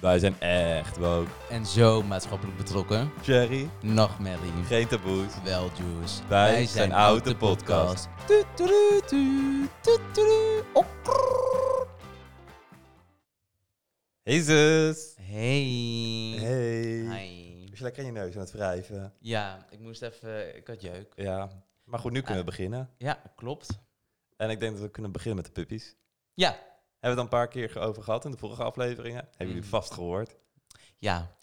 Wij zijn echt woke. En zo maatschappelijk betrokken. Jerry, Nachtmerrie. geen taboes. Wel, Juice. Wij zijn Oud, de podcast. Tutudu, tu, tutudu, okkrrr. Hey zus. Hey. Hey. Hi. Was je lekker in je neus aan het wrijven? Ja, ik moest even... Ik had jeuk. Ja. Maar goed, nu kunnen Ah. we beginnen. Ja, klopt. En ik denk dat we kunnen beginnen met de puppies. Ja. Hebben we het al een paar keer over gehad in de vorige afleveringen. Hebben jullie Mm. vast gehoord. Ja.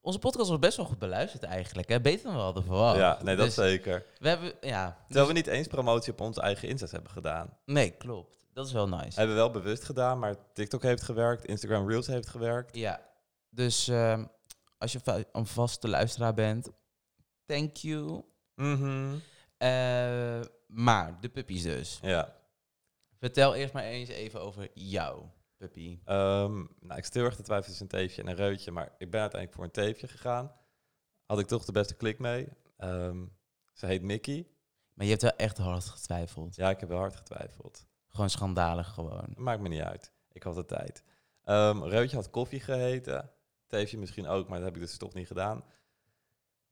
Onze podcast was best wel goed beluisterd eigenlijk. Hè? Beter dan we hadden verwacht. ja, nee, dat eh, Dus zeker. We hebben... Ja. Terwijl we niet eens promotie op onze eigen Insta's hebben gedaan. Nee, klopt. Dat is wel nice. Hebben we wel bewust gedaan, maar TikTok heeft gewerkt. Instagram Reels heeft gewerkt. Ja. Dus ehm, als je va- een vaste luisteraar bent... Thank you. Mhm. Eh, maar de puppies dus. Ja. Vertel eerst maar eens even over jou, puppy. Ehm, nou, ik zit heel erg te twijfelen tussen een teefje en een reutje, maar ik ben uiteindelijk voor een teefje gegaan. Had ik toch de beste klik mee. Ehm, ze heet Mickey. Maar je hebt wel echt hard getwijfeld. Ja, ik heb wel hard getwijfeld. Gewoon schandalig gewoon. Maakt me niet uit. Ik had de tijd. Ehm reutje had koffie geheten. Teefje misschien ook, maar dat heb ik dus toch niet gedaan.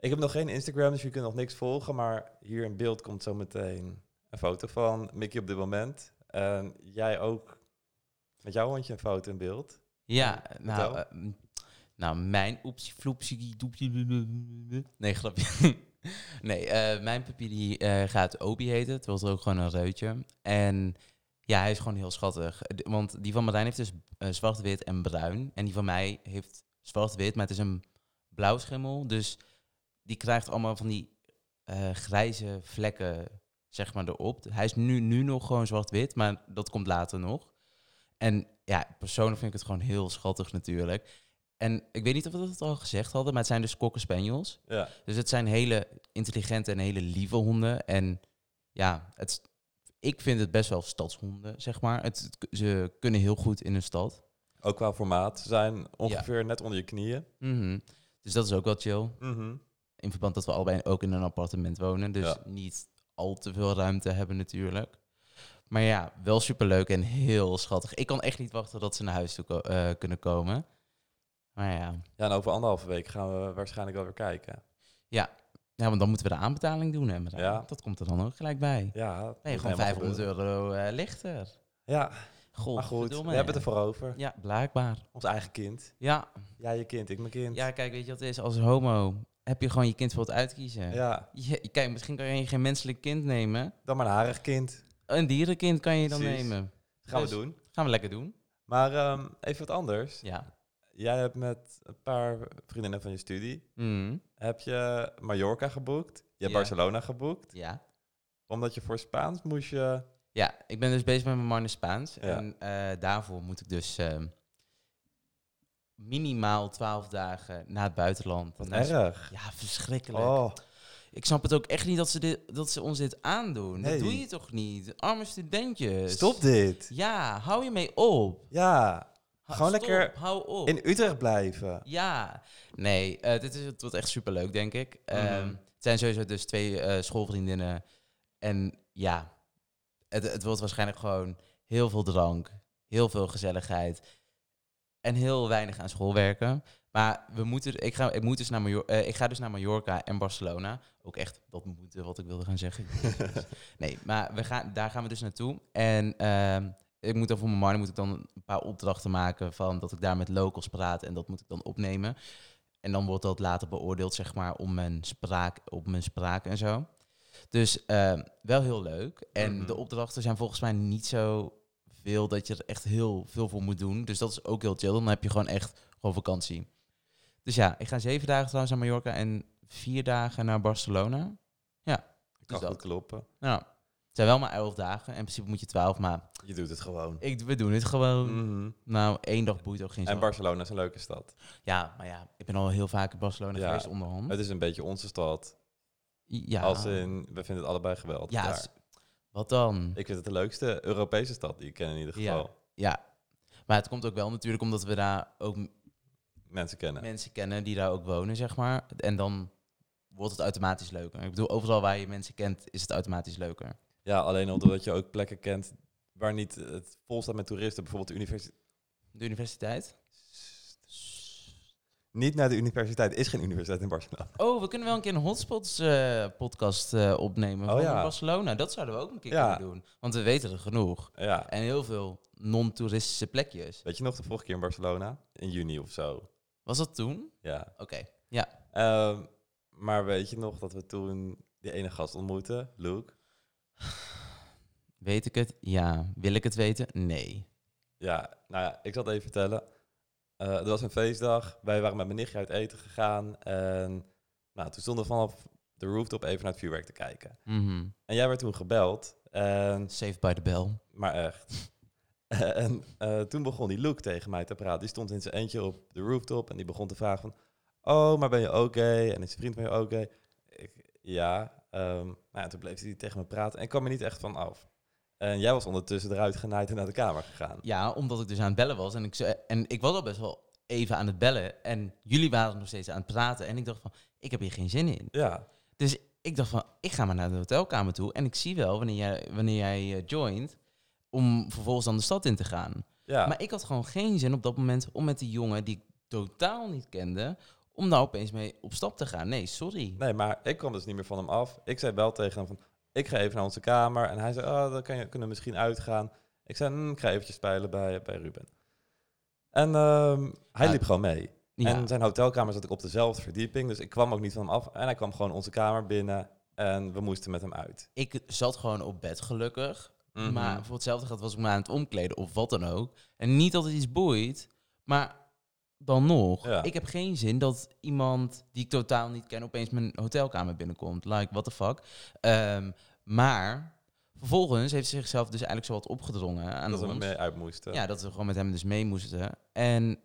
Ik heb nog geen Instagram, dus je kunt nog niks volgen, maar hier in beeld komt zo meteen een foto van Mickey op dit moment. En jij ook met jouw hondje een foto in beeld. Ja, nou, vertel. eh, nou mijn oepsie floepsie doepsie. Nee, grapje. Nee, eh, mijn puppy die eh, gaat Obi heten. Het was ook gewoon een reutje. En ja, hij is gewoon heel schattig. Eh, d- Want die van Marijn heeft dus eh, zwart-wit en bruin. En die van mij heeft zwart-wit, maar het is een blauw schimmel. Dus die krijgt allemaal van die eh, grijze vlekken, zeg maar, erop. Hij is nu, nu nog gewoon zwart-wit, maar dat komt later nog. En ja, persoonlijk vind ik het gewoon heel schattig natuurlijk. En ik weet niet of we dat al gezegd hadden, maar het zijn dus Cocker Spaniels. Ja. Dus het zijn hele intelligente en hele lieve honden. En ja, het, is- ik vind het best wel stadshonden, zeg maar. Het, het- ze kunnen heel goed in een stad. Ook qua formaat. Ze zijn ongeveer net onder je knieën. Mhm. Dus dat is ook wel chill. Mhm. In verband dat we allebei ook in een appartement wonen. Dus Ja. niet al te veel ruimte hebben natuurlijk. Maar ja, wel superleuk en heel schattig. Ik kan echt niet wachten dat ze naar huis toe ko- eh, kunnen komen. Maar ja. Ja, en over anderhalve week gaan we waarschijnlijk wel weer kijken. ja, want dan moeten we de aanbetaling doen. Hè, Marijn? Ja. Dat komt er dan ook gelijk bij. Ja, dat Nee, moet gewoon helemaal 500 gebeuren. euro eh, lichter. Ja, God, maar goed, we hebben het ervoor over. Ja, blijkbaar. Ons eigen kind. Ja. Jij je kind, ik mijn kind. ja, kijk, weet je wat het is? Als homo heb je gewoon je kind voor het uitkiezen. Ja, Je, je- kijk, misschien kan je geen menselijk kind nemen. dan maar een harig kind. Een dierenkind kan je dan Precies. nemen. Gaan Dus- we doen. Gaan we lekker doen. Maar ehm, even wat anders. Ja. Jij hebt met een paar vriendinnen van je studie... Mm, heb je Mallorca geboekt. Je hebt Ja. Barcelona geboekt. ja. Omdat je voor Spaans moest je... Ja, ik ben dus bezig met mijn Marne Spaans. Ja. En eh, daarvoor moet ik dus ehm, minimaal 12 dagen naar het buitenland. Wat Naar- erg. Ja, verschrikkelijk. Oh, Ik snap het ook echt niet dat ze, dit, dat ze ons dit aandoen. Nee. Dat doe je toch niet? Arme studentjes. stop dit. Ja, hou je mee op. Ja, Ha- Gewoon stop, lekker Hou op. in Utrecht blijven. Ja. Nee, eh, dit is, het wordt echt superleuk, denk ik. Ehm, Mhm. het zijn sowieso dus twee eh, schoolvriendinnen. En ja, het, het wordt waarschijnlijk gewoon heel veel drank, heel veel gezelligheid en heel weinig aan school werken. Maar we moeten, ik, ga, ik, moet dus naar Major, eh, ik ga dus naar Mallorca en Barcelona. Ook echt, dat moeten wat ik wilde gaan zeggen. nee, maar we gaan, daar gaan we dus naartoe. En ehm, ik moet dan voor mijn man moet ik dan een paar opdrachten maken van dat ik daar met locals praat en dat moet ik dan opnemen. En dan wordt dat later beoordeeld, zeg maar, om mijn spraak, op mijn spraak en zo. Dus ehm, wel heel leuk. En Mhm. de opdrachten zijn volgens mij niet zo veel dat je er echt heel veel voor moet doen. Dus dat is ook heel chill. Dan heb je gewoon echt gewoon vakantie. Dus ja, ik ga zeven dagen trouwens naar Mallorca en vier dagen naar Barcelona. Kan dus dat. goed kloppen. Nou, het zijn wel maar elf dagen. In principe moet je twaalf, maar Je doet het gewoon. ik, we doen het gewoon. Mhm. Nou, één dag boeit ook geen En zak. Barcelona is een leuke stad. Ja, maar ja, ik ben al heel vaak in Barcelona Ja. geweest onderhand. Het is een beetje onze stad. Hm? ja. Als in, we vinden het allebei geweldig ja, daar. s- wat dan? Ik vind het de leukste Europese stad die ik ken in ieder Ja. geval. Ja, maar het komt ook wel natuurlijk omdat we daar ook m- Mensen kennen. mensen kennen die daar ook wonen, zeg maar. En dan wordt het automatisch leuker. Ik bedoel, overal waar je mensen kent, is het automatisch leuker. Ja, alleen al doordat je ook plekken kent waar niet het vol staat met toeristen. Bijvoorbeeld de universiteit. De universiteit? Niet naar de universiteit. Er is geen universiteit in Barcelona. Oh, we kunnen wel een keer een hotspots eh, podcast eh, opnemen Oh, van ja. Barcelona. Dat zouden we ook een keer Ja. kunnen doen. Want we weten er genoeg. Ja. En heel veel non-toeristische plekjes. Weet je nog de vorige keer in Barcelona? In juni of zo. Was dat toen? Ja. Oké. Ehm, maar weet je nog dat we toen die ene gast ontmoetten? Luke? Weet ik het? Ja. Wil ik het weten? Nee. Ja, nou ja, ik zal het even vertellen. Eh er was een feestdag. Wij waren met mijn nichtje uit eten gegaan. En nou, toen stonden we vanaf de rooftop even naar het vuurwerk te kijken. Mhm. En jij werd toen gebeld. En, Saved by the bell. maar echt. en eh, toen begon die Luke tegen mij te praten. Die stond in zijn eentje op de rooftop en die begon te vragen van... Oh, maar ben je oké? En is je vriend van je oké? Ik, ja. ehm, nou ja, toen bleef hij tegen me praten en ik kwam er niet echt van af. En jij was ondertussen eruit genaaid en naar de kamer gegaan. Ja, omdat ik dus aan het bellen was. En ik, ze- en ik was al best wel even aan het bellen. En jullie waren nog steeds aan het praten. En ik dacht van, ik heb hier geen zin in. Ja. Dus ik dacht van, ik ga maar naar de hotelkamer toe. En ik zie wel wanneer jij, wanneer jij eh, joint. Om vervolgens dan de stad in te gaan. Ja. Maar ik had gewoon geen zin op dat moment om met die jongen die ik totaal niet kende. Om daar opeens mee op stap te gaan. Nee, sorry. Nee, maar ik kwam dus niet meer van hem af. Ik zei wel tegen hem van, ik ga even naar onze kamer. En hij zei, oh, dan kan je, kunnen we misschien uitgaan. Ik zei, "Mm, ik ga eventjes spelen bij, bij Ruben. En ehm, hij Ja. liep gewoon mee. Ja. En zijn hotelkamer zat ik op dezelfde verdieping. Dus ik kwam ook niet van hem af. En hij kwam gewoon onze kamer binnen. En we moesten met hem uit. Ik zat gewoon op bed, gelukkig. Mhm. Maar voor hetzelfde geld was ik me aan het omkleden of wat dan ook. En niet dat het iets boeit, maar dan nog. Ja. Ik heb geen zin dat iemand die ik totaal niet ken opeens mijn hotelkamer binnenkomt. Like, what the fuck. Ehm, maar vervolgens heeft ze zichzelf dus eigenlijk zo wat opgedrongen aan dat we ons. mee uit moesten. Ja, dat we gewoon met hem dus mee moesten. En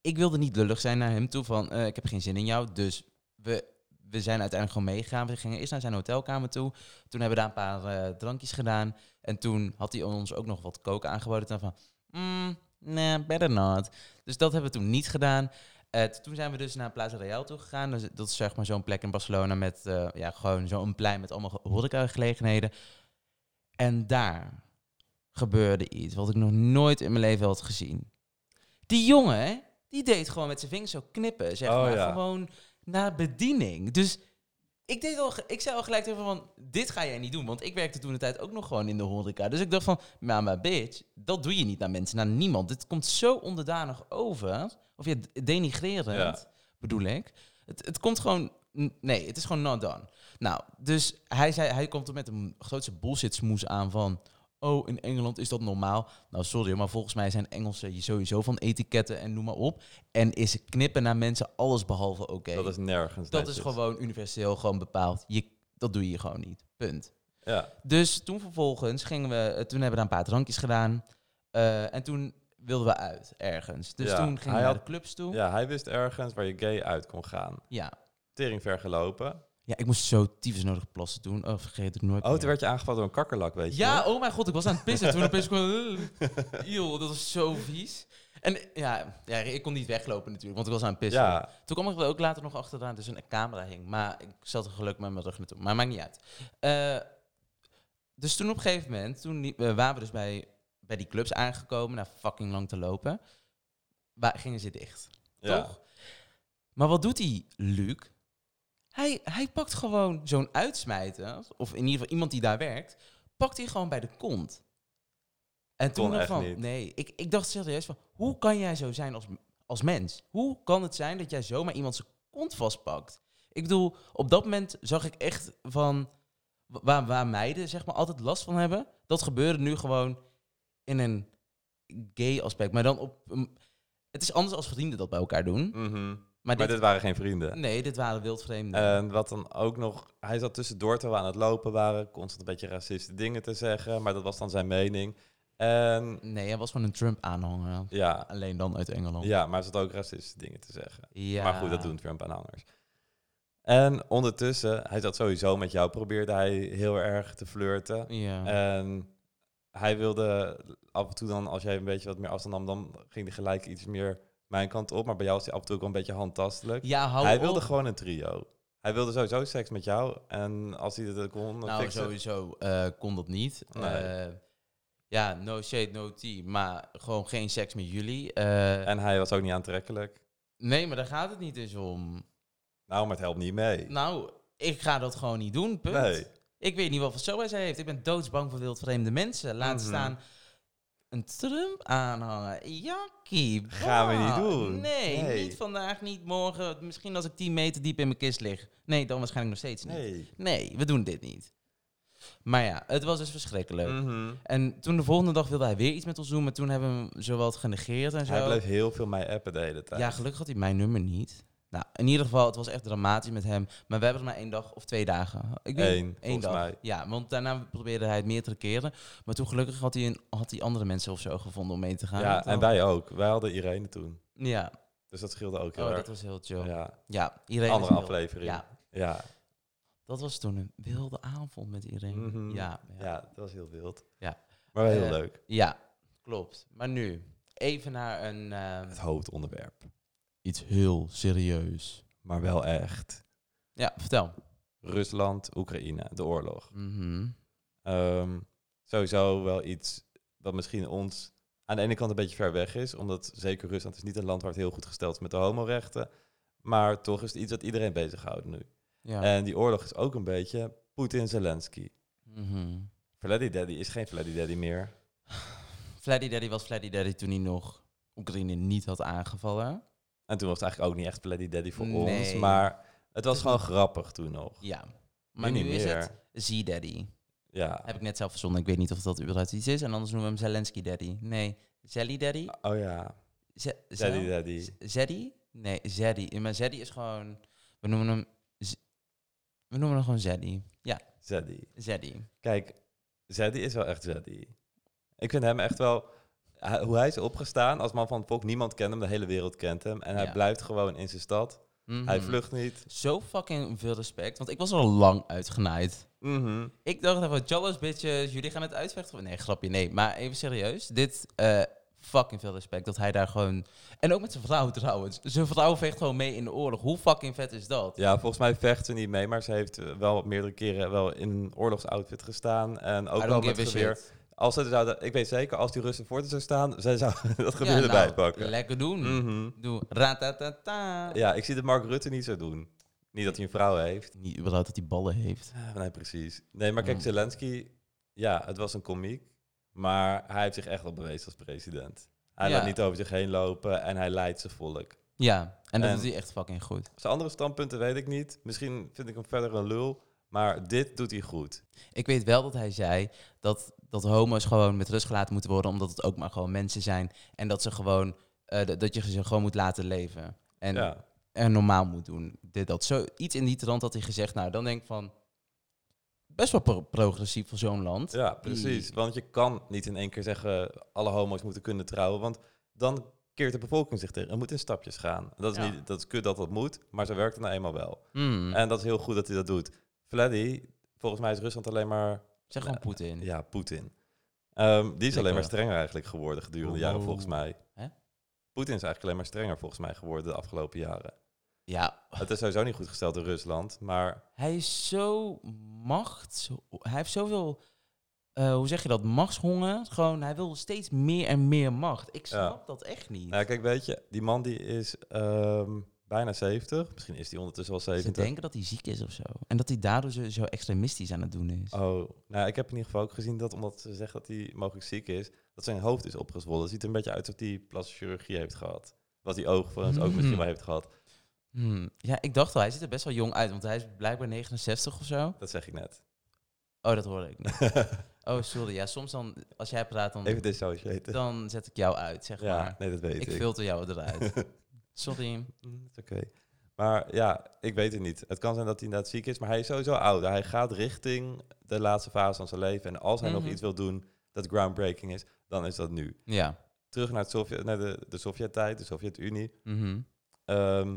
ik wilde niet lullig zijn naar hem toe van... eh, ik heb geen zin in jou, dus we, we zijn uiteindelijk gewoon meegegaan. We gingen eerst naar zijn hotelkamer toe. Toen hebben we daar een paar eh, drankjes gedaan. En toen had hij ons ook nog wat koken aangeboden. Toen van, mm, nee, better not. Dus dat hebben we toen niet gedaan. Eh, t- toen zijn we dus naar Plaza Real toe gegaan. Dus dat is zeg maar zo'n plek in Barcelona met eh, ja, gewoon zo'n plein met allemaal ge- horecagelegenheden. En daar gebeurde iets wat ik nog nooit in mijn leven had gezien. Die jongen, hè, die deed gewoon met zijn vingers zo knippen, zeg Oh, maar. ja. Gewoon naar bediening. Dus ik, deed al, ge- ik zei al gelijk tegen hem van, dit ga jij niet doen. Want ik werkte toen de tijd ook nog gewoon in de horeca. Dus ik dacht van, mama bitch, dat doe je niet naar mensen, naar niemand. Dit komt zo onderdanig over. Of je ja, denigrerend, bedoel ik. Het, het komt gewoon... n- Nee, het is gewoon not done. Nou, dus hij, zei, hij komt er met een grootste bullshit smoes aan van... Oh, in Engeland is dat normaal? Nou, sorry, maar volgens mij zijn Engelsen hier sowieso van etiketten en noem maar op. En is knippen naar mensen alles behalve oké. Dat is nergens Dat netjes. is gewoon universeel gewoon bepaald. Je, dat doe je gewoon niet. Punt. Ja. Dus toen vervolgens gingen we... eh, Toen hebben we daar een paar drankjes gedaan. eh, en toen wilden we uit ergens. Dus Ja, toen gingen hij we naar had- de clubs toe. Ja. ja, hij wist ergens waar je gay uit kon gaan. ja. Tering ver gelopen. ik moest zo tyfus nodig plassen toen. Oh, vergeet het nooit Oh, meer. toen werd je aangevallen door een kakkerlak, weet je Ja, nog? oh mijn god, ik was aan het pissen. Toen opeens kwam... eh, Eeuw, dat was zo vies. En ja, ja, ik kon niet weglopen natuurlijk, want ik was aan het pissen. Ja, Toen kwam ik er ook later nog achteraan, dus een camera hing. Maar ik zat er gelukkig met mijn rug naartoe. Maar maakt niet uit. Eh, dus toen op een gegeven moment, toen die- eh, waren we dus bij, bij die clubs aangekomen, na fucking lang te lopen, wa- gingen ze dicht. ja. Toch? Maar wat doet die Luc? Hij, hij pakt gewoon zo'n uitsmijter, of in ieder geval iemand die daar werkt, pakt hij gewoon bij de kont. En toen Kon dacht ik echt van, niet. nee, ik, ik dacht serieus van, hoe kan jij zo zijn als, als mens? Hoe kan het zijn dat jij zomaar iemand zijn kont vastpakt? Ik bedoel, op dat moment zag ik echt van, wa- waar, waar meiden zeg maar altijd last van hebben, dat gebeurde nu gewoon in een gay aspect. Maar dan op, een- het is anders als vrienden dat bij elkaar doen. Mhm. Maar, Maar Eh. dit dit, waren geen vrienden. nee, dit waren wildvreemden. En wat dan ook nog, hij zat tussendoor terwijl we aan het lopen waren, constant een beetje racistische dingen te zeggen, maar dat was dan zijn mening. En nee, hij was gewoon een Trump-aanhanger. ja, Alleen dan uit Engeland. ja maar hij zat ook racistische dingen te zeggen. Oh. Ja. Maar goed, dat doen Trump-aanhangers. En ondertussen, hij zat sowieso met jou, probeerde hij heel erg te flirten. Ja. En hij wilde af en toe dan, als jij een beetje wat meer afstand nam, dan ging hij gelijk iets meer mijn kant op. Maar bij jou was hij af en toe ook wel een beetje handtastelijk. ja, hou hij op. wilde gewoon een trio. Hij wilde sowieso seks met jou. En als hij dat kon, dan Nou, fixen- sowieso eh, kon dat niet. Nee. Eh, ja, no shade, no tea. Maar gewoon geen seks met jullie. Eh, En hij was ook niet aantrekkelijk. Nee, maar daar gaat het niet dus om. Nou, maar het helpt niet mee. Nou, ik ga dat gewoon niet doen, punt. nee. Ik weet niet wat voor SOAS hij heeft. Ik ben doodsbang voor wildvreemde mensen. Laat Mhm. staan een Trump aanhangen. Jakkie. Gaan we bah. niet doen. Nee, Nee. niet vandaag, niet morgen. Misschien als ik 10 meter diep in mijn kist lig. Nee, dan waarschijnlijk nog steeds niet. Nee, Nee. we doen dit niet. Maar ja, het was dus verschrikkelijk. Mhm. En toen de volgende dag wilde hij weer iets met ons doen, maar toen hebben we hem zowat genegeerd en zo. Hij bleef heel veel mij appen de hele tijd. Ja, gelukkig had hij mijn nummer niet. Nou, in ieder geval, het was echt dramatisch met hem. Maar we hebben het maar één dag of twee dagen. Ik denk Eén, volgens dag. mij. Ja, want daarna probeerde hij het meerdere keren. Maar toen gelukkig had hij, een, had hij andere mensen of zo gevonden om mee te gaan. ja Want dan- en wij ook. Wij hadden Irene toen. Ja, Dus dat scheelde ook heel oh, dat erg. was heel chill. Ja, ja. iedereen Andere aflevering. Ja, Ja. dat was toen een wilde avond met iedereen. Mhm. ja, ja. ja, dat was heel wild. Ja. Maar wel heel Eh, leuk. Ja, klopt. Maar nu, even naar een... eh, Het hoofdonderwerp. iets heel serieus. Maar wel echt. Ja, vertel. Rusland, Oekraïne, de oorlog. Mhm. Ehm, sowieso wel iets dat misschien ons aan de ene kant een beetje ver weg is. Omdat zeker Rusland is niet een land waar het heel goed gesteld is met de homorechten. Maar toch is het iets dat iedereen bezighoudt nu. Ja. En die oorlog is ook een beetje Poetin-Zelensky. Mhm. Fladdy Daddy is geen Fladdy Daddy meer. Fladdy Daddy was Fladdy Daddy toen hij nog Oekraïne niet had aangevallen. En toen was het eigenlijk ook niet echt Fladdy Daddy voor ons. Nee. Maar het was is gewoon niet- grappig toen nog. Ja. Maar Nu nu, niet is meer. het Z-Daddy. Ja. Heb ik net zelf verzonnen. Ik weet niet of dat überhaupt iets is. En anders noemen we hem Zelensky Daddy. Nee, Zelly Daddy? Oh ja. Z- Daddy Zel- Daddy. Z- Zeddy? Nee, Zeddy. Maar Zeddy is gewoon... We noemen hem... Z- we noemen hem gewoon Zeddy. Zeddy. Zeddy. Kijk, Zeddy is wel echt Zeddy. Ik vind hem echt wel... hij- Hoe hij is opgestaan als man van het volk. Niemand kent hem, de hele wereld kent hem. En hij Ja. blijft gewoon in zijn stad. Mhm. Hij vlucht niet. Zo fucking veel respect. Want ik was er al lang uitgenaaid. Mhm. Ik dacht even, Jallo's bitches, jullie gaan het uitvechten. Nee, grapje, nee. Maar even serieus, dit eh, fucking veel respect dat hij daar gewoon... En ook met zijn vrouw trouwens. Zijn vrouw vecht gewoon mee in de oorlog. Hoe fucking vet is dat? Ja, volgens mij vecht ze niet mee. Maar ze heeft eh, wel meerdere keren wel in een oorlogsoutfit gestaan. En ook I wel don't met give a geweer. shit. Als ze zouden, ik weet zeker, als die Russen voor te zou staan, zij zouden dat geweer Ja, erbij nou, pakken. Lekker doen. Mhm. Doe ratatata. Ja, ik zie dat Mark Rutte niet zo doen. Niet dat hij een vrouw heeft. Niet überhaupt dat hij ballen heeft. Ah, Nee, precies. Nee, maar kijk, Mm. Zelensky, ja, het was een komiek. Maar hij heeft zich echt wel bewezen als president. Hij Ja. laat niet over zich heen lopen en hij leidt zijn volk. Ja, en dat En- is hij echt fucking goed. Zijn andere standpunten weet ik niet. Misschien vind ik hem verder een lul. Maar dit doet hij goed. Ik weet wel dat hij zei dat, dat homo's gewoon met rust gelaten moeten worden... omdat het ook maar gewoon mensen zijn. En dat, ze gewoon, eh, dat- dat je ze gewoon moet laten leven. En ja. en normaal moet doen. Dit, dat. Zo, iets in die trant had hij gezegd. Nou, dan denk ik van... Best wel pro- progressief voor zo'n land. ja, precies. Want je kan niet in één keer zeggen... alle homo's moeten kunnen trouwen. Want dan keert de bevolking zich tegen. Het moet in stapjes gaan. Dat is, Ja. niet, dat is kut dat dat moet, maar zo werkt het nou eenmaal wel. Hmm. En dat is heel goed dat hij dat doet. Vladdy, volgens mij is Rusland alleen maar... Zeg gewoon Poetin. Ja, Poetin. Ehm, die is Ik alleen maar wel. strenger eigenlijk geworden gedurende de jaren Wow. volgens mij. Hè? Poetin is eigenlijk alleen maar strenger volgens mij geworden de afgelopen jaren. Ja, Het is sowieso niet goed gesteld in Rusland, maar hij is zo macht... Hij heeft zoveel... eh, hoe zeg je dat? Machtshonger. Gewoon, hij wil steeds meer en meer macht. Ik snap dat echt niet. Nou, ja, kijk, weet je, die man die is ehm, bijna 70. Misschien is die ondertussen wel Ze 70. denken dat hij ziek is of zo. En dat hij daardoor zo, zo extremistisch aan het doen is. Oh, nou, ja, ik heb in ieder geval ook gezien dat, omdat ze zegt dat hij mogelijk ziek is, dat zijn hoofd is opgezwollen. Het ziet er een beetje uit alsof hij plastische chirurgie heeft gehad. Wat die oog voor ons ook Mm. misschien wel heeft gehad. Hmm. Ja, ik dacht al, hij ziet er best wel jong uit. Want hij is blijkbaar 69 of zo. Dat zeg ik net. Oh, dat hoorde ik niet. Oh, sorry. Ja, soms dan, als jij praat, dan, Even dissociaten. dan zet ik jou uit, zeg ja, maar. nee, dat weet Ik ik. filter jou eruit. sorry. Mm, dat is oké. Maar ja, ik weet het niet. Het kan zijn dat hij inderdaad ziek is, maar hij is sowieso oud. Hij gaat richting de laatste fase van zijn leven. En als hij Mhm. nog iets wil doen dat groundbreaking is, dan is dat nu. Ja. terug naar, het Sovjet, naar de, de Sovjet-tijd, de Sovjet-Unie. Mhm. Ehm,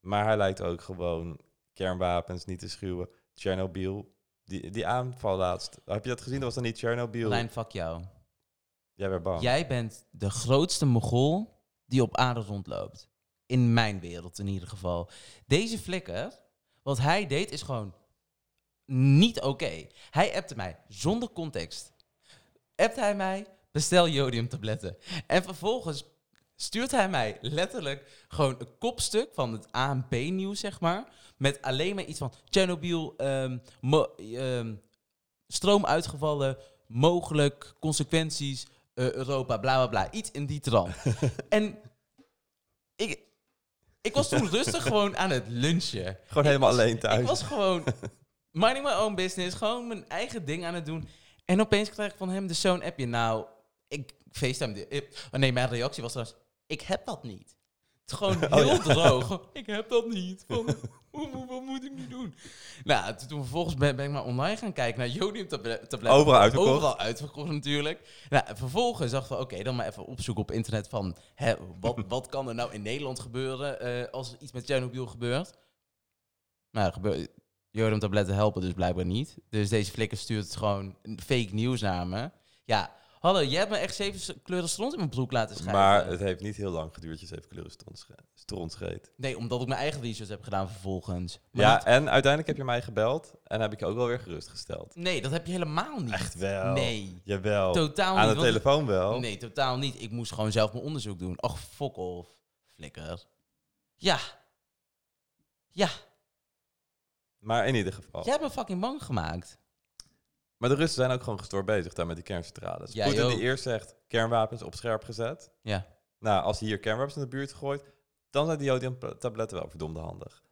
maar hij lijkt ook gewoon kernwapens niet te schuwen. Tsjernobyl, die, die aanval laatst. Heb je dat gezien? Dat was dan niet Tsjernobyl. Lijn, fuck jou. Jij werd bang. Jij bent de grootste mogol die op aarde rondloopt. In mijn wereld in ieder geval. Deze flikker, wat hij deed, is gewoon niet oké. Hij appte mij zonder context. Appt hij mij, bestel jodiumtabletten. En vervolgens stuurt hij mij letterlijk gewoon een kopstuk van het ANP-nieuws, zeg maar. Met alleen maar iets van Chernobyl, ehm, mo- ehm, stroom uitgevallen, mogelijk consequenties, eh, Europa, bla bla bla. Iets in die trant. en ik, ik was toen rustig gewoon aan het lunchen. Gewoon Ik helemaal was- alleen thuis. Ik was gewoon minding my own business, gewoon mijn eigen ding aan het doen. En opeens krijg ik van hem dus zo'n appje. Nou, ik FaceTime. ik- Oh nee, mijn reactie was trouwens, ik heb dat niet. Het is Gewoon Oh, heel droog. Gewoon, Ik heb dat niet. Van, hoe, hoe- wat moet ik nu doen? Nou, toen toen vervolgens ben, ben ik maar online gaan kijken naar Jodium tablet. Overal uitverkocht. Overal uitverkocht natuurlijk. Nou, en vervolgens dacht ik van, oké, dan maar even opzoeken op internet van... Hè, wat, wat kan er nou in Nederland gebeuren eh, als er iets met Chernobyl gebeurt? Nou, er gebeurt... Jodiumtabletten helpen dus blijkbaar niet. Dus deze flikker stuurt gewoon fake nieuws naar me. Ja, hallo, jij hebt me echt zeven s- kleuren stront in mijn broek laten schrijven. maar het heeft niet heel lang geduurd. Je zeven kleuren stront scheet. Nee, omdat ik mijn eigen research heb gedaan vervolgens. Maar Ja, dat- en uiteindelijk heb je mij gebeld en heb ik je ook wel weer gerustgesteld. nee, dat heb je helemaal niet. Echt wel. Nee. Jawel. Totaal Aan niet. de want- telefoon wel. Nee, totaal niet. Ik moest gewoon zelf mijn onderzoek doen. Och, fok off. Flikker. Ja. Oh. Ja, Maar in ieder geval. jij hebt me fucking bang gemaakt. Maar de Russen zijn ook gewoon gestoord bezig daar met die kerncentrales. Ja, Poetin joh. die eerst zegt kernwapens op scherp gezet. Ja. Nou, als hij hier kernwapens in de buurt gooit, dan zijn die jodiumtabletten wel verdomde handig.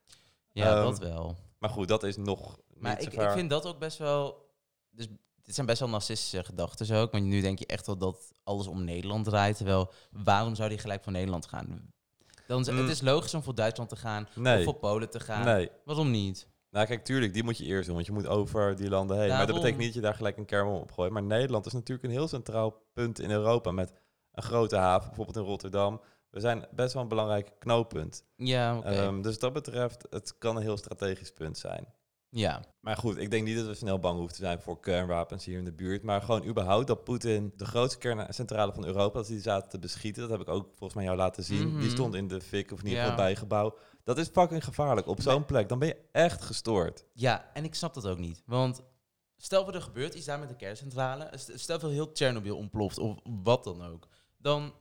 Ja, Ehm, dat wel. Maar goed, dat is nog Maar niet ik, zo ik ver. vind dat ook best wel... Dus, dit zijn best wel narcistische gedachten ook. Want nu denk je echt wel dat alles om Nederland draait. Terwijl, waarom zou die gelijk voor Nederland gaan? Dan, is- Mm. Het is logisch om voor Duitsland te gaan. Of Nee, voor Polen te gaan. nee. Waarom niet? Nou kijk, tuurlijk, die moet je eerst doen, want je moet over die landen heen. Maar dat Daarom. betekent niet dat je daar gelijk een kernbom op gooit. Maar Nederland is natuurlijk een heel centraal punt in Europa met een grote haven, bijvoorbeeld in Rotterdam. We zijn best wel een belangrijk knooppunt. Ja, oké. Ehm, dus wat dat betreft, het kan een heel strategisch punt zijn. ja. Maar goed, ik denk niet dat we snel bang hoeven te zijn voor kernwapens hier in de buurt. Maar gewoon überhaupt dat Poetin de grootste kerncentrale van Europa, dat ze die zaten te beschieten. Dat heb ik ook volgens mij jou laten zien. Mhm. Die stond in de fik of in ieder Ja. geval bijgebouw. Dat is fucking gevaarlijk op zo'n plek. Dan ben je echt gestoord. Ja, en ik snap dat ook niet. Want stel voor er gebeurt iets daar met de kerncentrale. s- Stel voor heel Tsjernobyl ontploft of wat dan ook. Dan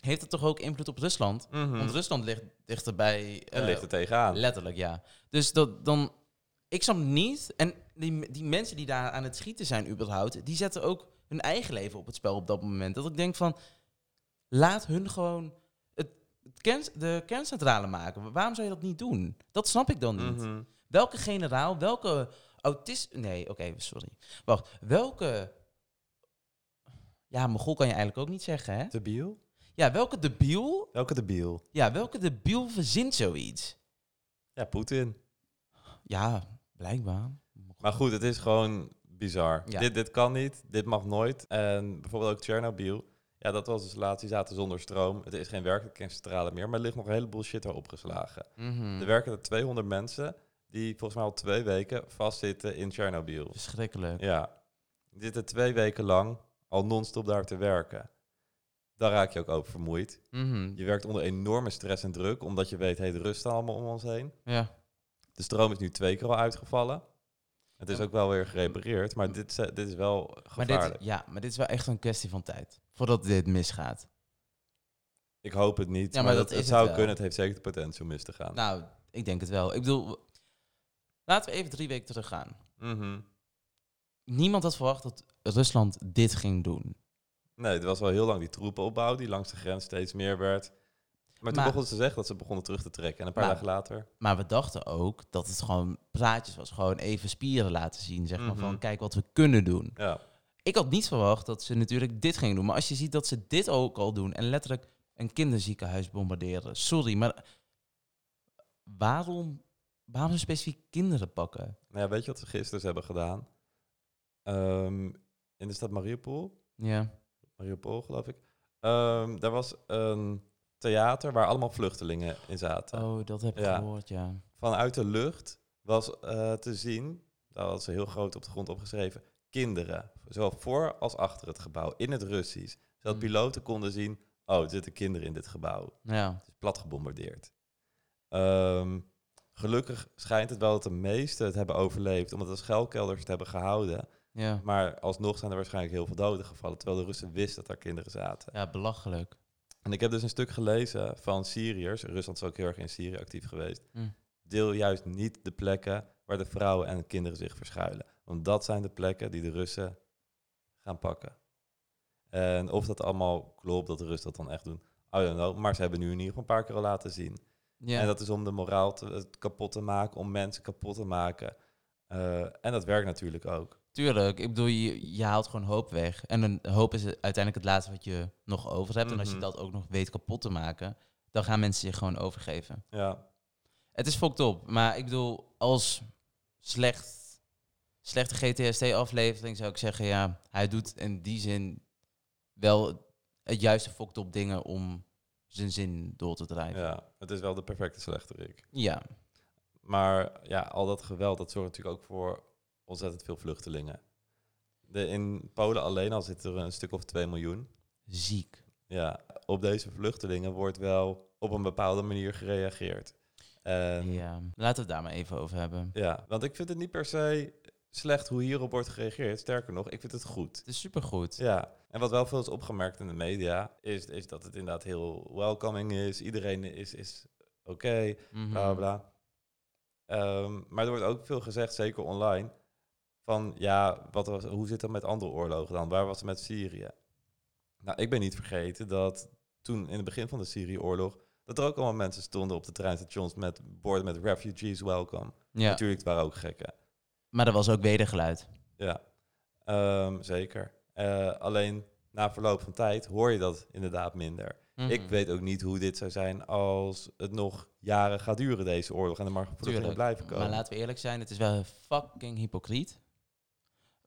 heeft het toch ook invloed op Rusland? Want Rusland ligt dichterbij. En eh, Hmm. ligt er tegenaan. Letterlijk, ja. Dus dat dan... Ik snap niet... En die, die mensen die daar aan het schieten zijn überhaupt... die zetten ook hun eigen leven op het spel op dat moment. Dat ik denk van... Laat hun gewoon het, het kern, de kerncentrale maken. Waarom zou je dat niet doen? Dat snap ik dan niet. Mhm. Welke generaal, welke autist... Nee, oké, sorry. Wacht, welke... Ja, mogol kan je eigenlijk ook niet zeggen, hè? Debiel? Ja, welke debiel... Welke debiel? Ja, welke debiel verzint zoiets? Ja, Poetin. Ja, blijkbaar. Maar goed, het is gewoon bizar. Ja. Dit, dit kan niet, dit mag nooit. En bijvoorbeeld ook Tsjernobyl. Ja, dat was dus laatst. Die zaten zonder stroom. Het is geen werkelijke kerncentrale meer, maar er ligt nog een heleboel shit daar opgeslagen. Mhm. Er werken er 200 mensen die volgens mij al twee weken vastzitten in Tsjernobyl. Dus- Verschrikkelijk. Ja, die zitten twee weken lang al non-stop daar te werken. Daar raak je ook over vermoeid. Mhm, Je werkt onder enorme stress en druk, omdat je weet, hey, de rust staat allemaal om ons heen. Ja. De stroom is nu twee keer al uitgevallen. Het is ook wel weer gerepareerd, maar dit, is- eh, dit is wel Maar gevaarlijk. dit, ja, maar dit is wel echt een kwestie van tijd. Voordat dit misgaat. Ik hoop het niet, Ja, maar, dat, het is zou het wel. kunnen. Het heeft zeker de potentie om mis te gaan. Nou, ik denk het wel. Ik bedoel, w- laten we even drie weken teruggaan. Mhm. Niemand had verwacht dat Rusland dit ging doen. Nee, het was wel heel lang die troepenopbouw die langs de grens steeds meer werd. Maar toen Maar- begonnen ze te zeggen dat ze begonnen terug te trekken. En een paar Maar- dagen later. Maar we dachten ook dat het gewoon praatjes was. Gewoon even spieren laten zien. Zeg maar Mhm. van, kijk wat we kunnen doen. Ja. Ik had niet verwacht dat ze natuurlijk dit gingen doen. Maar als je ziet dat ze dit ook al doen en letterlijk een kinderziekenhuis bombarderen. Sorry, maar waarom, waarom specifiek kinderen pakken? Nou ja, weet je wat ze gisteren hebben gedaan? Ehm, in de stad Mariupol, Ja. Mariupol geloof ik. Ehm, daar was een theater waar allemaal vluchtelingen in zaten. Oh, dat heb ik Ja. gehoord, ja. Vanuit de lucht was eh, te zien, daar had ze heel groot op de grond opgeschreven, kinderen. Zowel voor als achter het gebouw, in het Russisch. Zodat Hmm. piloten konden zien, oh, er zitten kinderen in dit gebouw. Ja. Het is plat gebombardeerd. Ehm, gelukkig schijnt het wel dat de meesten het hebben overleefd, omdat de schuilkelders het hebben gehouden. Ja. Maar alsnog zijn er waarschijnlijk heel veel doden gevallen, terwijl de Russen wisten dat daar kinderen zaten. ja, belachelijk. En ik heb dus een stuk gelezen van Syriërs. Rusland is ook heel erg in Syrië actief geweest. Mm. Deel juist niet de plekken waar de vrouwen en de kinderen zich verschuilen. Want dat zijn de plekken die de Russen gaan pakken. En of dat allemaal klopt, dat de Russen dat dan echt doen, I don't know. Maar ze hebben nu in ieder geval een paar keer al laten zien. Ja. En dat is om de moraal te- het kapot te maken, om mensen kapot te maken. Eh, en dat werkt natuurlijk ook. Tuurlijk, ik bedoel, je, je haalt gewoon hoop weg. En een hoop is uiteindelijk het laatste wat je nog over hebt. En als je Mhm. dat ook nog weet kapot te maken, dan gaan mensen zich gewoon overgeven. Ja, Het is fucked op, maar ik bedoel, als slecht, slechte GTSD-aflevering zou ik zeggen, ja, hij doet in die zin wel het, het juiste fucked op dingen om zijn zin door te drijven. Ja. ja, het is wel de perfecte slechterik. Maar ja, al dat geweld, dat zorgt natuurlijk ook voor ontzettend veel vluchtelingen. De, in Polen alleen al zit er een stuk of 2 miljoen. ziek. Ja, op deze vluchtelingen wordt wel op een bepaalde manier gereageerd. En ja. Ja. Laten we het daar maar even over hebben. want ik vind het niet per se slecht hoe hierop wordt gereageerd. Sterker nog, ik vind het goed. Het is supergoed. Ja, en wat wel veel is opgemerkt in de media, is, is dat het inderdaad heel welcoming is. Iedereen is, is oké. Mhm. bla bla. Ehm, maar er wordt ook veel gezegd, zeker online, van ja, wat was, hoe zit dat met andere oorlogen dan? Waar was het met Syrië? Nou, ik ben niet vergeten dat toen in het begin van de Syrië-oorlog, dat er ook allemaal mensen stonden op de treinstations met borden met refugees welcome. Ja. Natuurlijk, het waren ook gekken. Maar er was ook wedergeluid. Ja, Ehm, zeker. Eh, alleen na verloop van tijd hoor je dat inderdaad minder. Ik Mhm. weet ook niet hoe dit zou zijn als het nog jaren gaat duren, deze oorlog. En er maar vluchtelingen Tuurlijk, blijven komen. Maar laten we eerlijk zijn, het is wel fucking hypocriet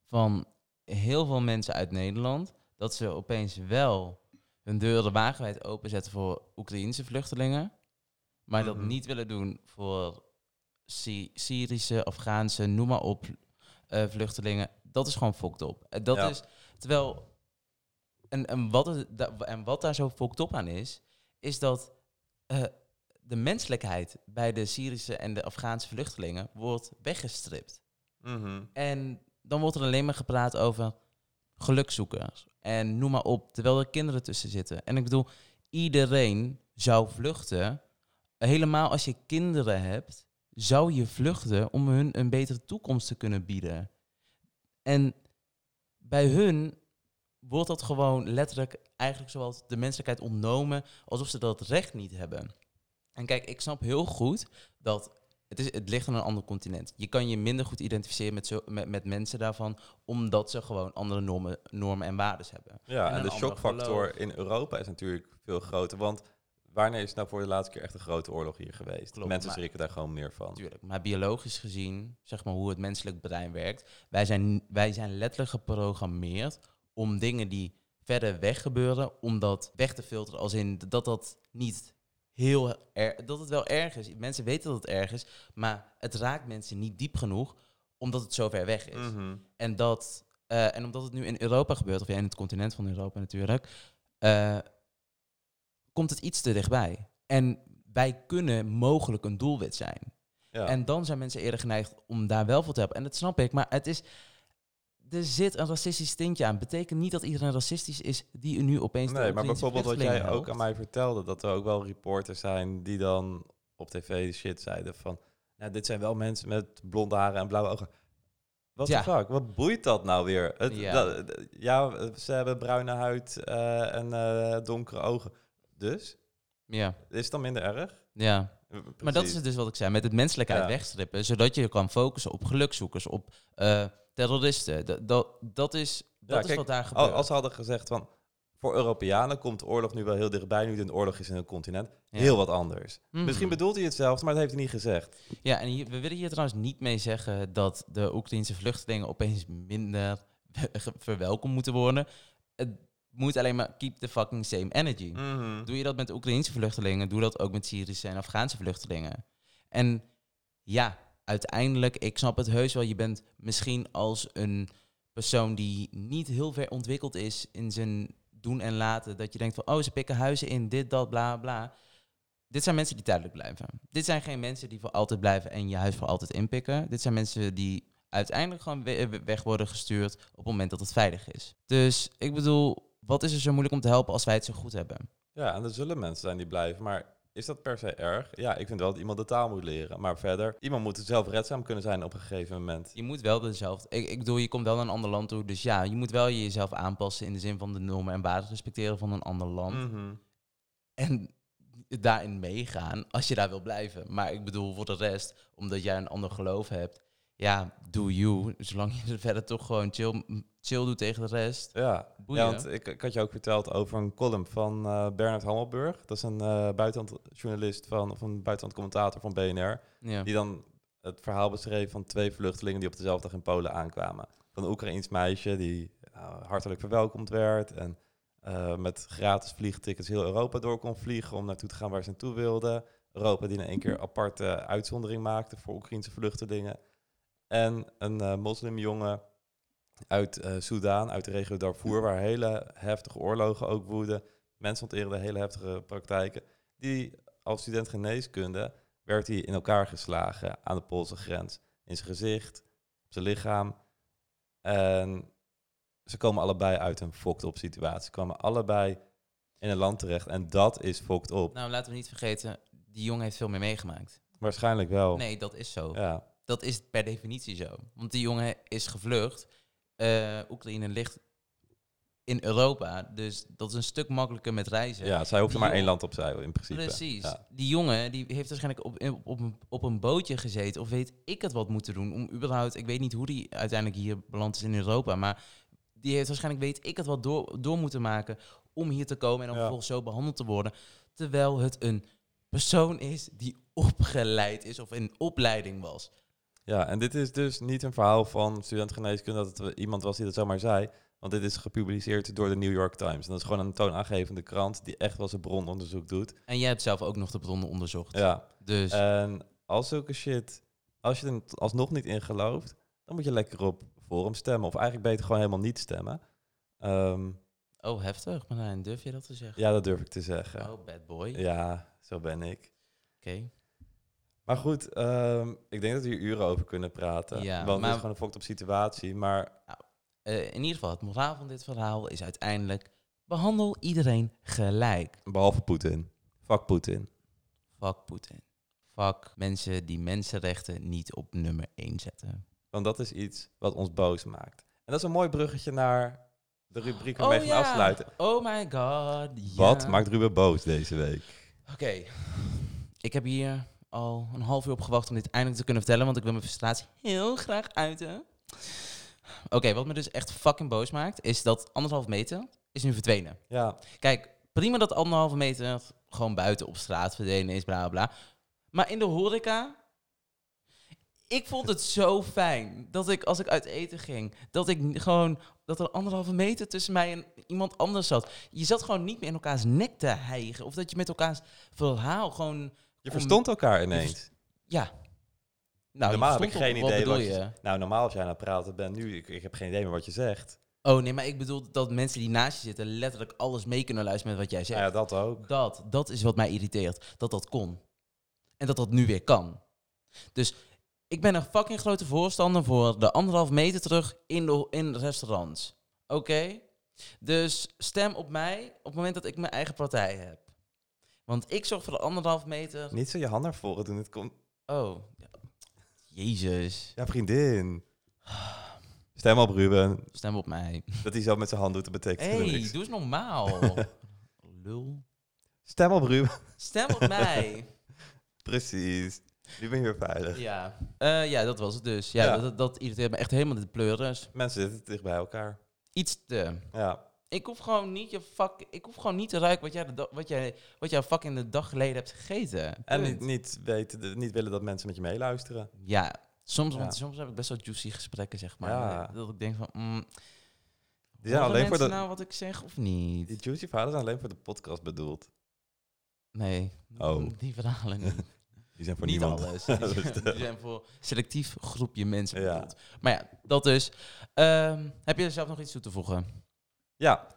van heel veel mensen uit Nederland dat ze opeens wel hun deuren wagenwijd openzetten voor Oekraïense vluchtelingen, maar dat Mhm. niet willen doen voor Sy- Syrische, Afghaanse, noem maar op, eh, vluchtelingen. Dat is gewoon fokt op. En dat Ja. is terwijl en, en, wat het- da- en wat daar zo fokt op aan is, is dat eh, de menselijkheid bij de Syrische en de Afghaanse vluchtelingen wordt weggestript. Mhm. En dan wordt er alleen maar gepraat over gelukzoekers en noem maar op, terwijl er kinderen tussen zitten. En ik bedoel, iedereen zou vluchten. Helemaal als je kinderen hebt, zou je vluchten om hun een betere toekomst te kunnen bieden. En bij hun wordt dat gewoon letterlijk eigenlijk zoals de menselijkheid ontnomen, alsof ze dat recht niet hebben. En kijk, ik snap heel goed dat het, is, het ligt aan een ander continent. Je kan je minder goed identificeren met, zo, met, met mensen daarvan, omdat ze gewoon andere normen, normen en waarden hebben. Ja, En en, een de ander shockfactor geloof. in Europa is natuurlijk veel groter. Want wanneer is nou voor de laatste keer echt een grote oorlog hier geweest? Klopt, Mensen maar- schrikken daar gewoon meer van. Natuurlijk, maar biologisch gezien, zeg maar hoe het menselijk brein werkt, wij zijn, wij zijn letterlijk geprogrammeerd om dingen die verder weg gebeuren, om dat weg te filteren. Als in dat dat niet heel erg, dat het wel erg is. Mensen weten dat het erg is, maar het raakt mensen niet diep genoeg, omdat het zo ver weg is. Mhm. En, dat, eh, en omdat het nu in Europa gebeurt, of ja, in het continent van Europa natuurlijk, eh, komt het iets te dichtbij. En wij kunnen mogelijk een doelwit zijn. Ja. En dan zijn mensen eerder geneigd om daar wel voor te helpen. En dat snap ik, maar het is. Er zit een racistisch tintje aan. Betekent niet dat iedereen racistisch is die nu opeens. de nee, maar Oekraïense bijvoorbeeld wat jij vluchtelingen ook helpt. aan mij vertelde, dat er ook wel reporters zijn die dan op tv shit zeiden van... Nou, dit zijn wel mensen met blonde haren en blauwe ogen. Wat Ja. the fuck? Wat boeit dat nou weer? Het, Ja. dat- d- ja, ze hebben bruine huid eh, en eh, donkere ogen. Dus? Ja, Is het dan minder erg? ja. Maar dat is Precies. dus wat ik zei, met het menselijkheid Ja. wegstrippen, zodat je kan focussen op gelukzoekers, op eh, terroristen. Dat, dat, dat is, dat is kijk, wat daar Al- gebeurt. Als ze hadden gezegd van voor Europeanen komt de oorlog nu wel heel dichtbij, nu het een oorlog is in een continent, Ja. heel wat anders. Mhm. Misschien bedoelt hij hetzelfde, maar dat heeft hij niet gezegd. Ja, en hier, we willen hier trouwens niet mee zeggen dat de Oekraïnse vluchtelingen opeens minder verwelkomd moeten worden. Het moet alleen maar keep the fucking same Mhm. energy. Mm. Doe je dat met Oekraïnse vluchtelingen, doe dat ook met Syrische en Afghaanse vluchtelingen. En ja, uiteindelijk, ik snap het heus wel, je bent misschien als een persoon die niet heel ver ontwikkeld is in zijn doen en laten, dat je denkt van, oh, ze pikken huizen in, dit, dat, bla, bla. Dit zijn mensen die tijdelijk blijven. Dit zijn geen mensen die voor altijd blijven en je huis voor altijd inpikken. Dit zijn mensen die uiteindelijk gewoon we- we- weg worden gestuurd op het moment dat het veilig is. Dus ik bedoel, wat is er zo moeilijk om te helpen als wij het zo goed hebben? Ja, en er zullen mensen zijn die blijven, maar is dat per se erg? Ja, ik vind wel dat iemand de taal moet leren. Maar verder, iemand moet zelfredzaam kunnen zijn op een gegeven moment. Je moet wel dezelfde. Ik, ik bedoel, je komt wel naar een ander land toe. Dus ja, je moet wel jezelf aanpassen in de zin van de normen en waarden respecteren van een ander land. Mhm. En daarin meegaan als je daar wil blijven. Maar ik bedoel, voor de rest, omdat jij een ander geloof hebt, ja, do you. Zolang je verder toch gewoon chill, chill doet tegen de rest. Ja. Boeien. ja, want ik, ik had je ook verteld over een column van eh Bernard Hammelburg. Dat is een eh buitenlandjournalist van, of een buitenland commentator van BNR. Ja. eh, Die dan het verhaal beschreef van twee vluchtelingen die op dezelfde dag in Polen aankwamen. Van een Oekraïns meisje die nou, hartelijk verwelkomd werd. En eh, met gratis vliegtickets heel Europa door kon vliegen om naartoe te gaan waar ze naartoe wilden. Europa die in één keer aparte uitzondering maakte voor Oekraïnse vluchtelingen. En een eh, moslimjongen uit eh Soudaan, uit de regio Darfur, waar hele heftige oorlogen ook woeden. Mensen onteerden hele heftige praktijken. Die als student geneeskunde werd hij in elkaar geslagen aan de Poolse grens. In zijn gezicht, op zijn lichaam. En ze komen allebei uit een fokt op situatie. Ze kwamen allebei in een land terecht. En dat is fokt op. Nou, laten we niet vergeten, die jongen heeft veel meer meegemaakt. Waarschijnlijk wel. Nee, dat is zo. Ja. Dat is per definitie zo. Want die jongen is gevlucht. Eh, Oekraïne ligt in Europa. Dus dat is een stuk makkelijker met reizen. ja, zij hoefde Die maar jongen- één land opzij in principe. Precies. Ja. Die jongen die heeft waarschijnlijk op, op, op, een- op een bootje gezeten. Of weet ik het wat moeten doen. Om überhaupt, ik weet niet hoe die uiteindelijk hier beland is in Europa. Maar die heeft waarschijnlijk, weet ik het wat, door, door moeten maken. Om hier te komen en dan Ja. vervolgens zo behandeld te worden. Terwijl het een persoon is die opgeleid is of in opleiding was. ja, en dit is dus niet een verhaal van student geneeskunde dat het iemand was die dat zomaar zei. Want dit is gepubliceerd door de New York Times. En dat is gewoon een toonaangevende krant die echt wel zijn brononderzoek doet. En jij hebt zelf ook nog de bronnen onderzocht. Ja. Eh, Dus En als zulke shit, als je er alsnog niet in gelooft, dan moet je lekker op Forum stemmen. Of eigenlijk beter gewoon helemaal niet stemmen. Ehm, oh, heftig. Maar dan durf je dat te zeggen? ja, dat durf ik te zeggen. Oh, bad boy. Oké. Ja, zo ben ik. Maar goed, ehm, ik denk dat we hier uren over kunnen praten. Ja, want het maar- is gewoon een fucked op situatie. Maar Eh, in ieder geval, het moraal van dit verhaal is uiteindelijk... behandel iedereen gelijk. behalve Poetin. Fuck Poetin. Fuck Poetin. Fuck mensen die mensenrechten niet op nummer 1 zetten. Want dat is iets wat ons boos maakt. En dat is een mooi bruggetje naar de rubriek waarmee we Oh, gaan ja. afsluiten. Oh my god, ja. Wat maakt Ruben boos deze week? Oké, ik heb hier al een half uur op gewacht om dit eindelijk te kunnen vertellen... want ik wil mijn frustratie heel graag uiten. Oké, wat me dus echt fucking boos maakt... is dat anderhalf meter is nu verdwenen. Ja, Kijk, prima dat anderhalve meter gewoon buiten op straat verdwenen is, bla bla, bla. Maar in de horeca. Ik vond het zo fijn dat ik als ik uit eten ging, dat ik n- gewoon dat er anderhalve meter tussen mij en iemand anders zat. Je zat gewoon niet meer in elkaars nek te hijgen. Of dat je met elkaars verhaal gewoon. je Om- verstond elkaar ineens. Nou, je Normaal heb ik verstond geen wel- idee bedoel wat je Nou, normaal als jij aan het praten bent nu, ik, ik heb geen idee meer wat je zegt. Oh nee, maar ik bedoel dat mensen die naast je zitten letterlijk alles mee kunnen luisteren met wat jij zegt. Nou ja, dat ook. Dat, dat is wat mij irriteert. Dat dat kon. En dat dat nu weer kan. Dus ik ben een fucking grote voorstander voor de anderhalf meter terug in, de, in restaurants. Oké? Dus stem op mij op het moment dat ik mijn eigen partij heb. Want ik zorg voor de anderhalf meter. Niet zo je hand naar voren doen, het komt... Oh. ja. Jezus. Ja, vriendin. Stem op Ruben. Stem op mij. Dat hij zo met zijn hand doet, dat betekent Hé, hey, niks. doe eens normaal. Lul. Stem op Ruben. Stem op mij. Precies. Nu ben je weer veilig. Ja. Eh, ja, dat was het dus. Ja, Ja. Dat, dat irriteert me echt helemaal de pleuris. Mensen zitten dicht bij elkaar. Iets te. Ja. Ik hoef gewoon niet je fuck. Ik hoef gewoon niet te ruiken wat jij, de da- wat jij, wat jij fucking de dag geleden hebt gegeten. En Punt. niet, niet, weten, niet willen dat mensen met je meeluisteren. Ja. Soms, Ja. Want soms heb ik best wel juicy gesprekken, zeg maar. Ja. Dat ik denk van, mm, Die, zijn horen alleen voor mensen de, nou wat ik zeg of die niet? juicy verhalen zijn alleen voor de podcast bedoeld. Nee, Oh. die verhalen niet. Die zijn voor niet niemand. alles. Die Dat is zijn- die zijn voor selectief groepje mensen Ja. bedoeld. Maar ja, dat dus. Ehm, heb je er zelf nog iets toe te voegen? Ja.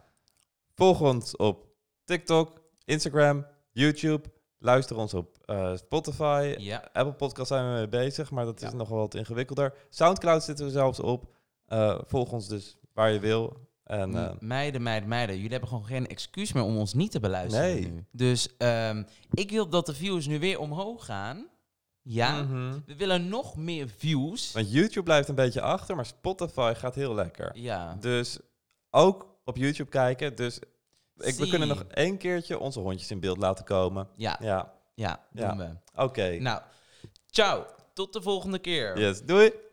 Volg ons op TikTok, Instagram, YouTube. Luister ons op eh, Spotify. Ja. Apple Podcast zijn we mee bezig, maar dat is Ja. nog wel wat ingewikkelder. Soundcloud zitten we zelfs op. Eh, volg ons dus waar je wil. En, eh, M- meiden, meiden, meiden. Jullie hebben gewoon geen excuus meer om ons niet te beluisteren Nee. nu. Dus ehm, ik wil dat de views nu weer omhoog gaan. Ja, mhm. we willen nog meer views. Want YouTube blijft een beetje achter, maar Spotify gaat heel lekker. Ja, Dus ook op YouTube kijken. Dus ik, we Zie. kunnen nog één keertje onze hondjes in beeld laten komen. ja, Ja, ja, Ja. doen we. oké. Nou, ciao. Tot de volgende keer. Yes, doei!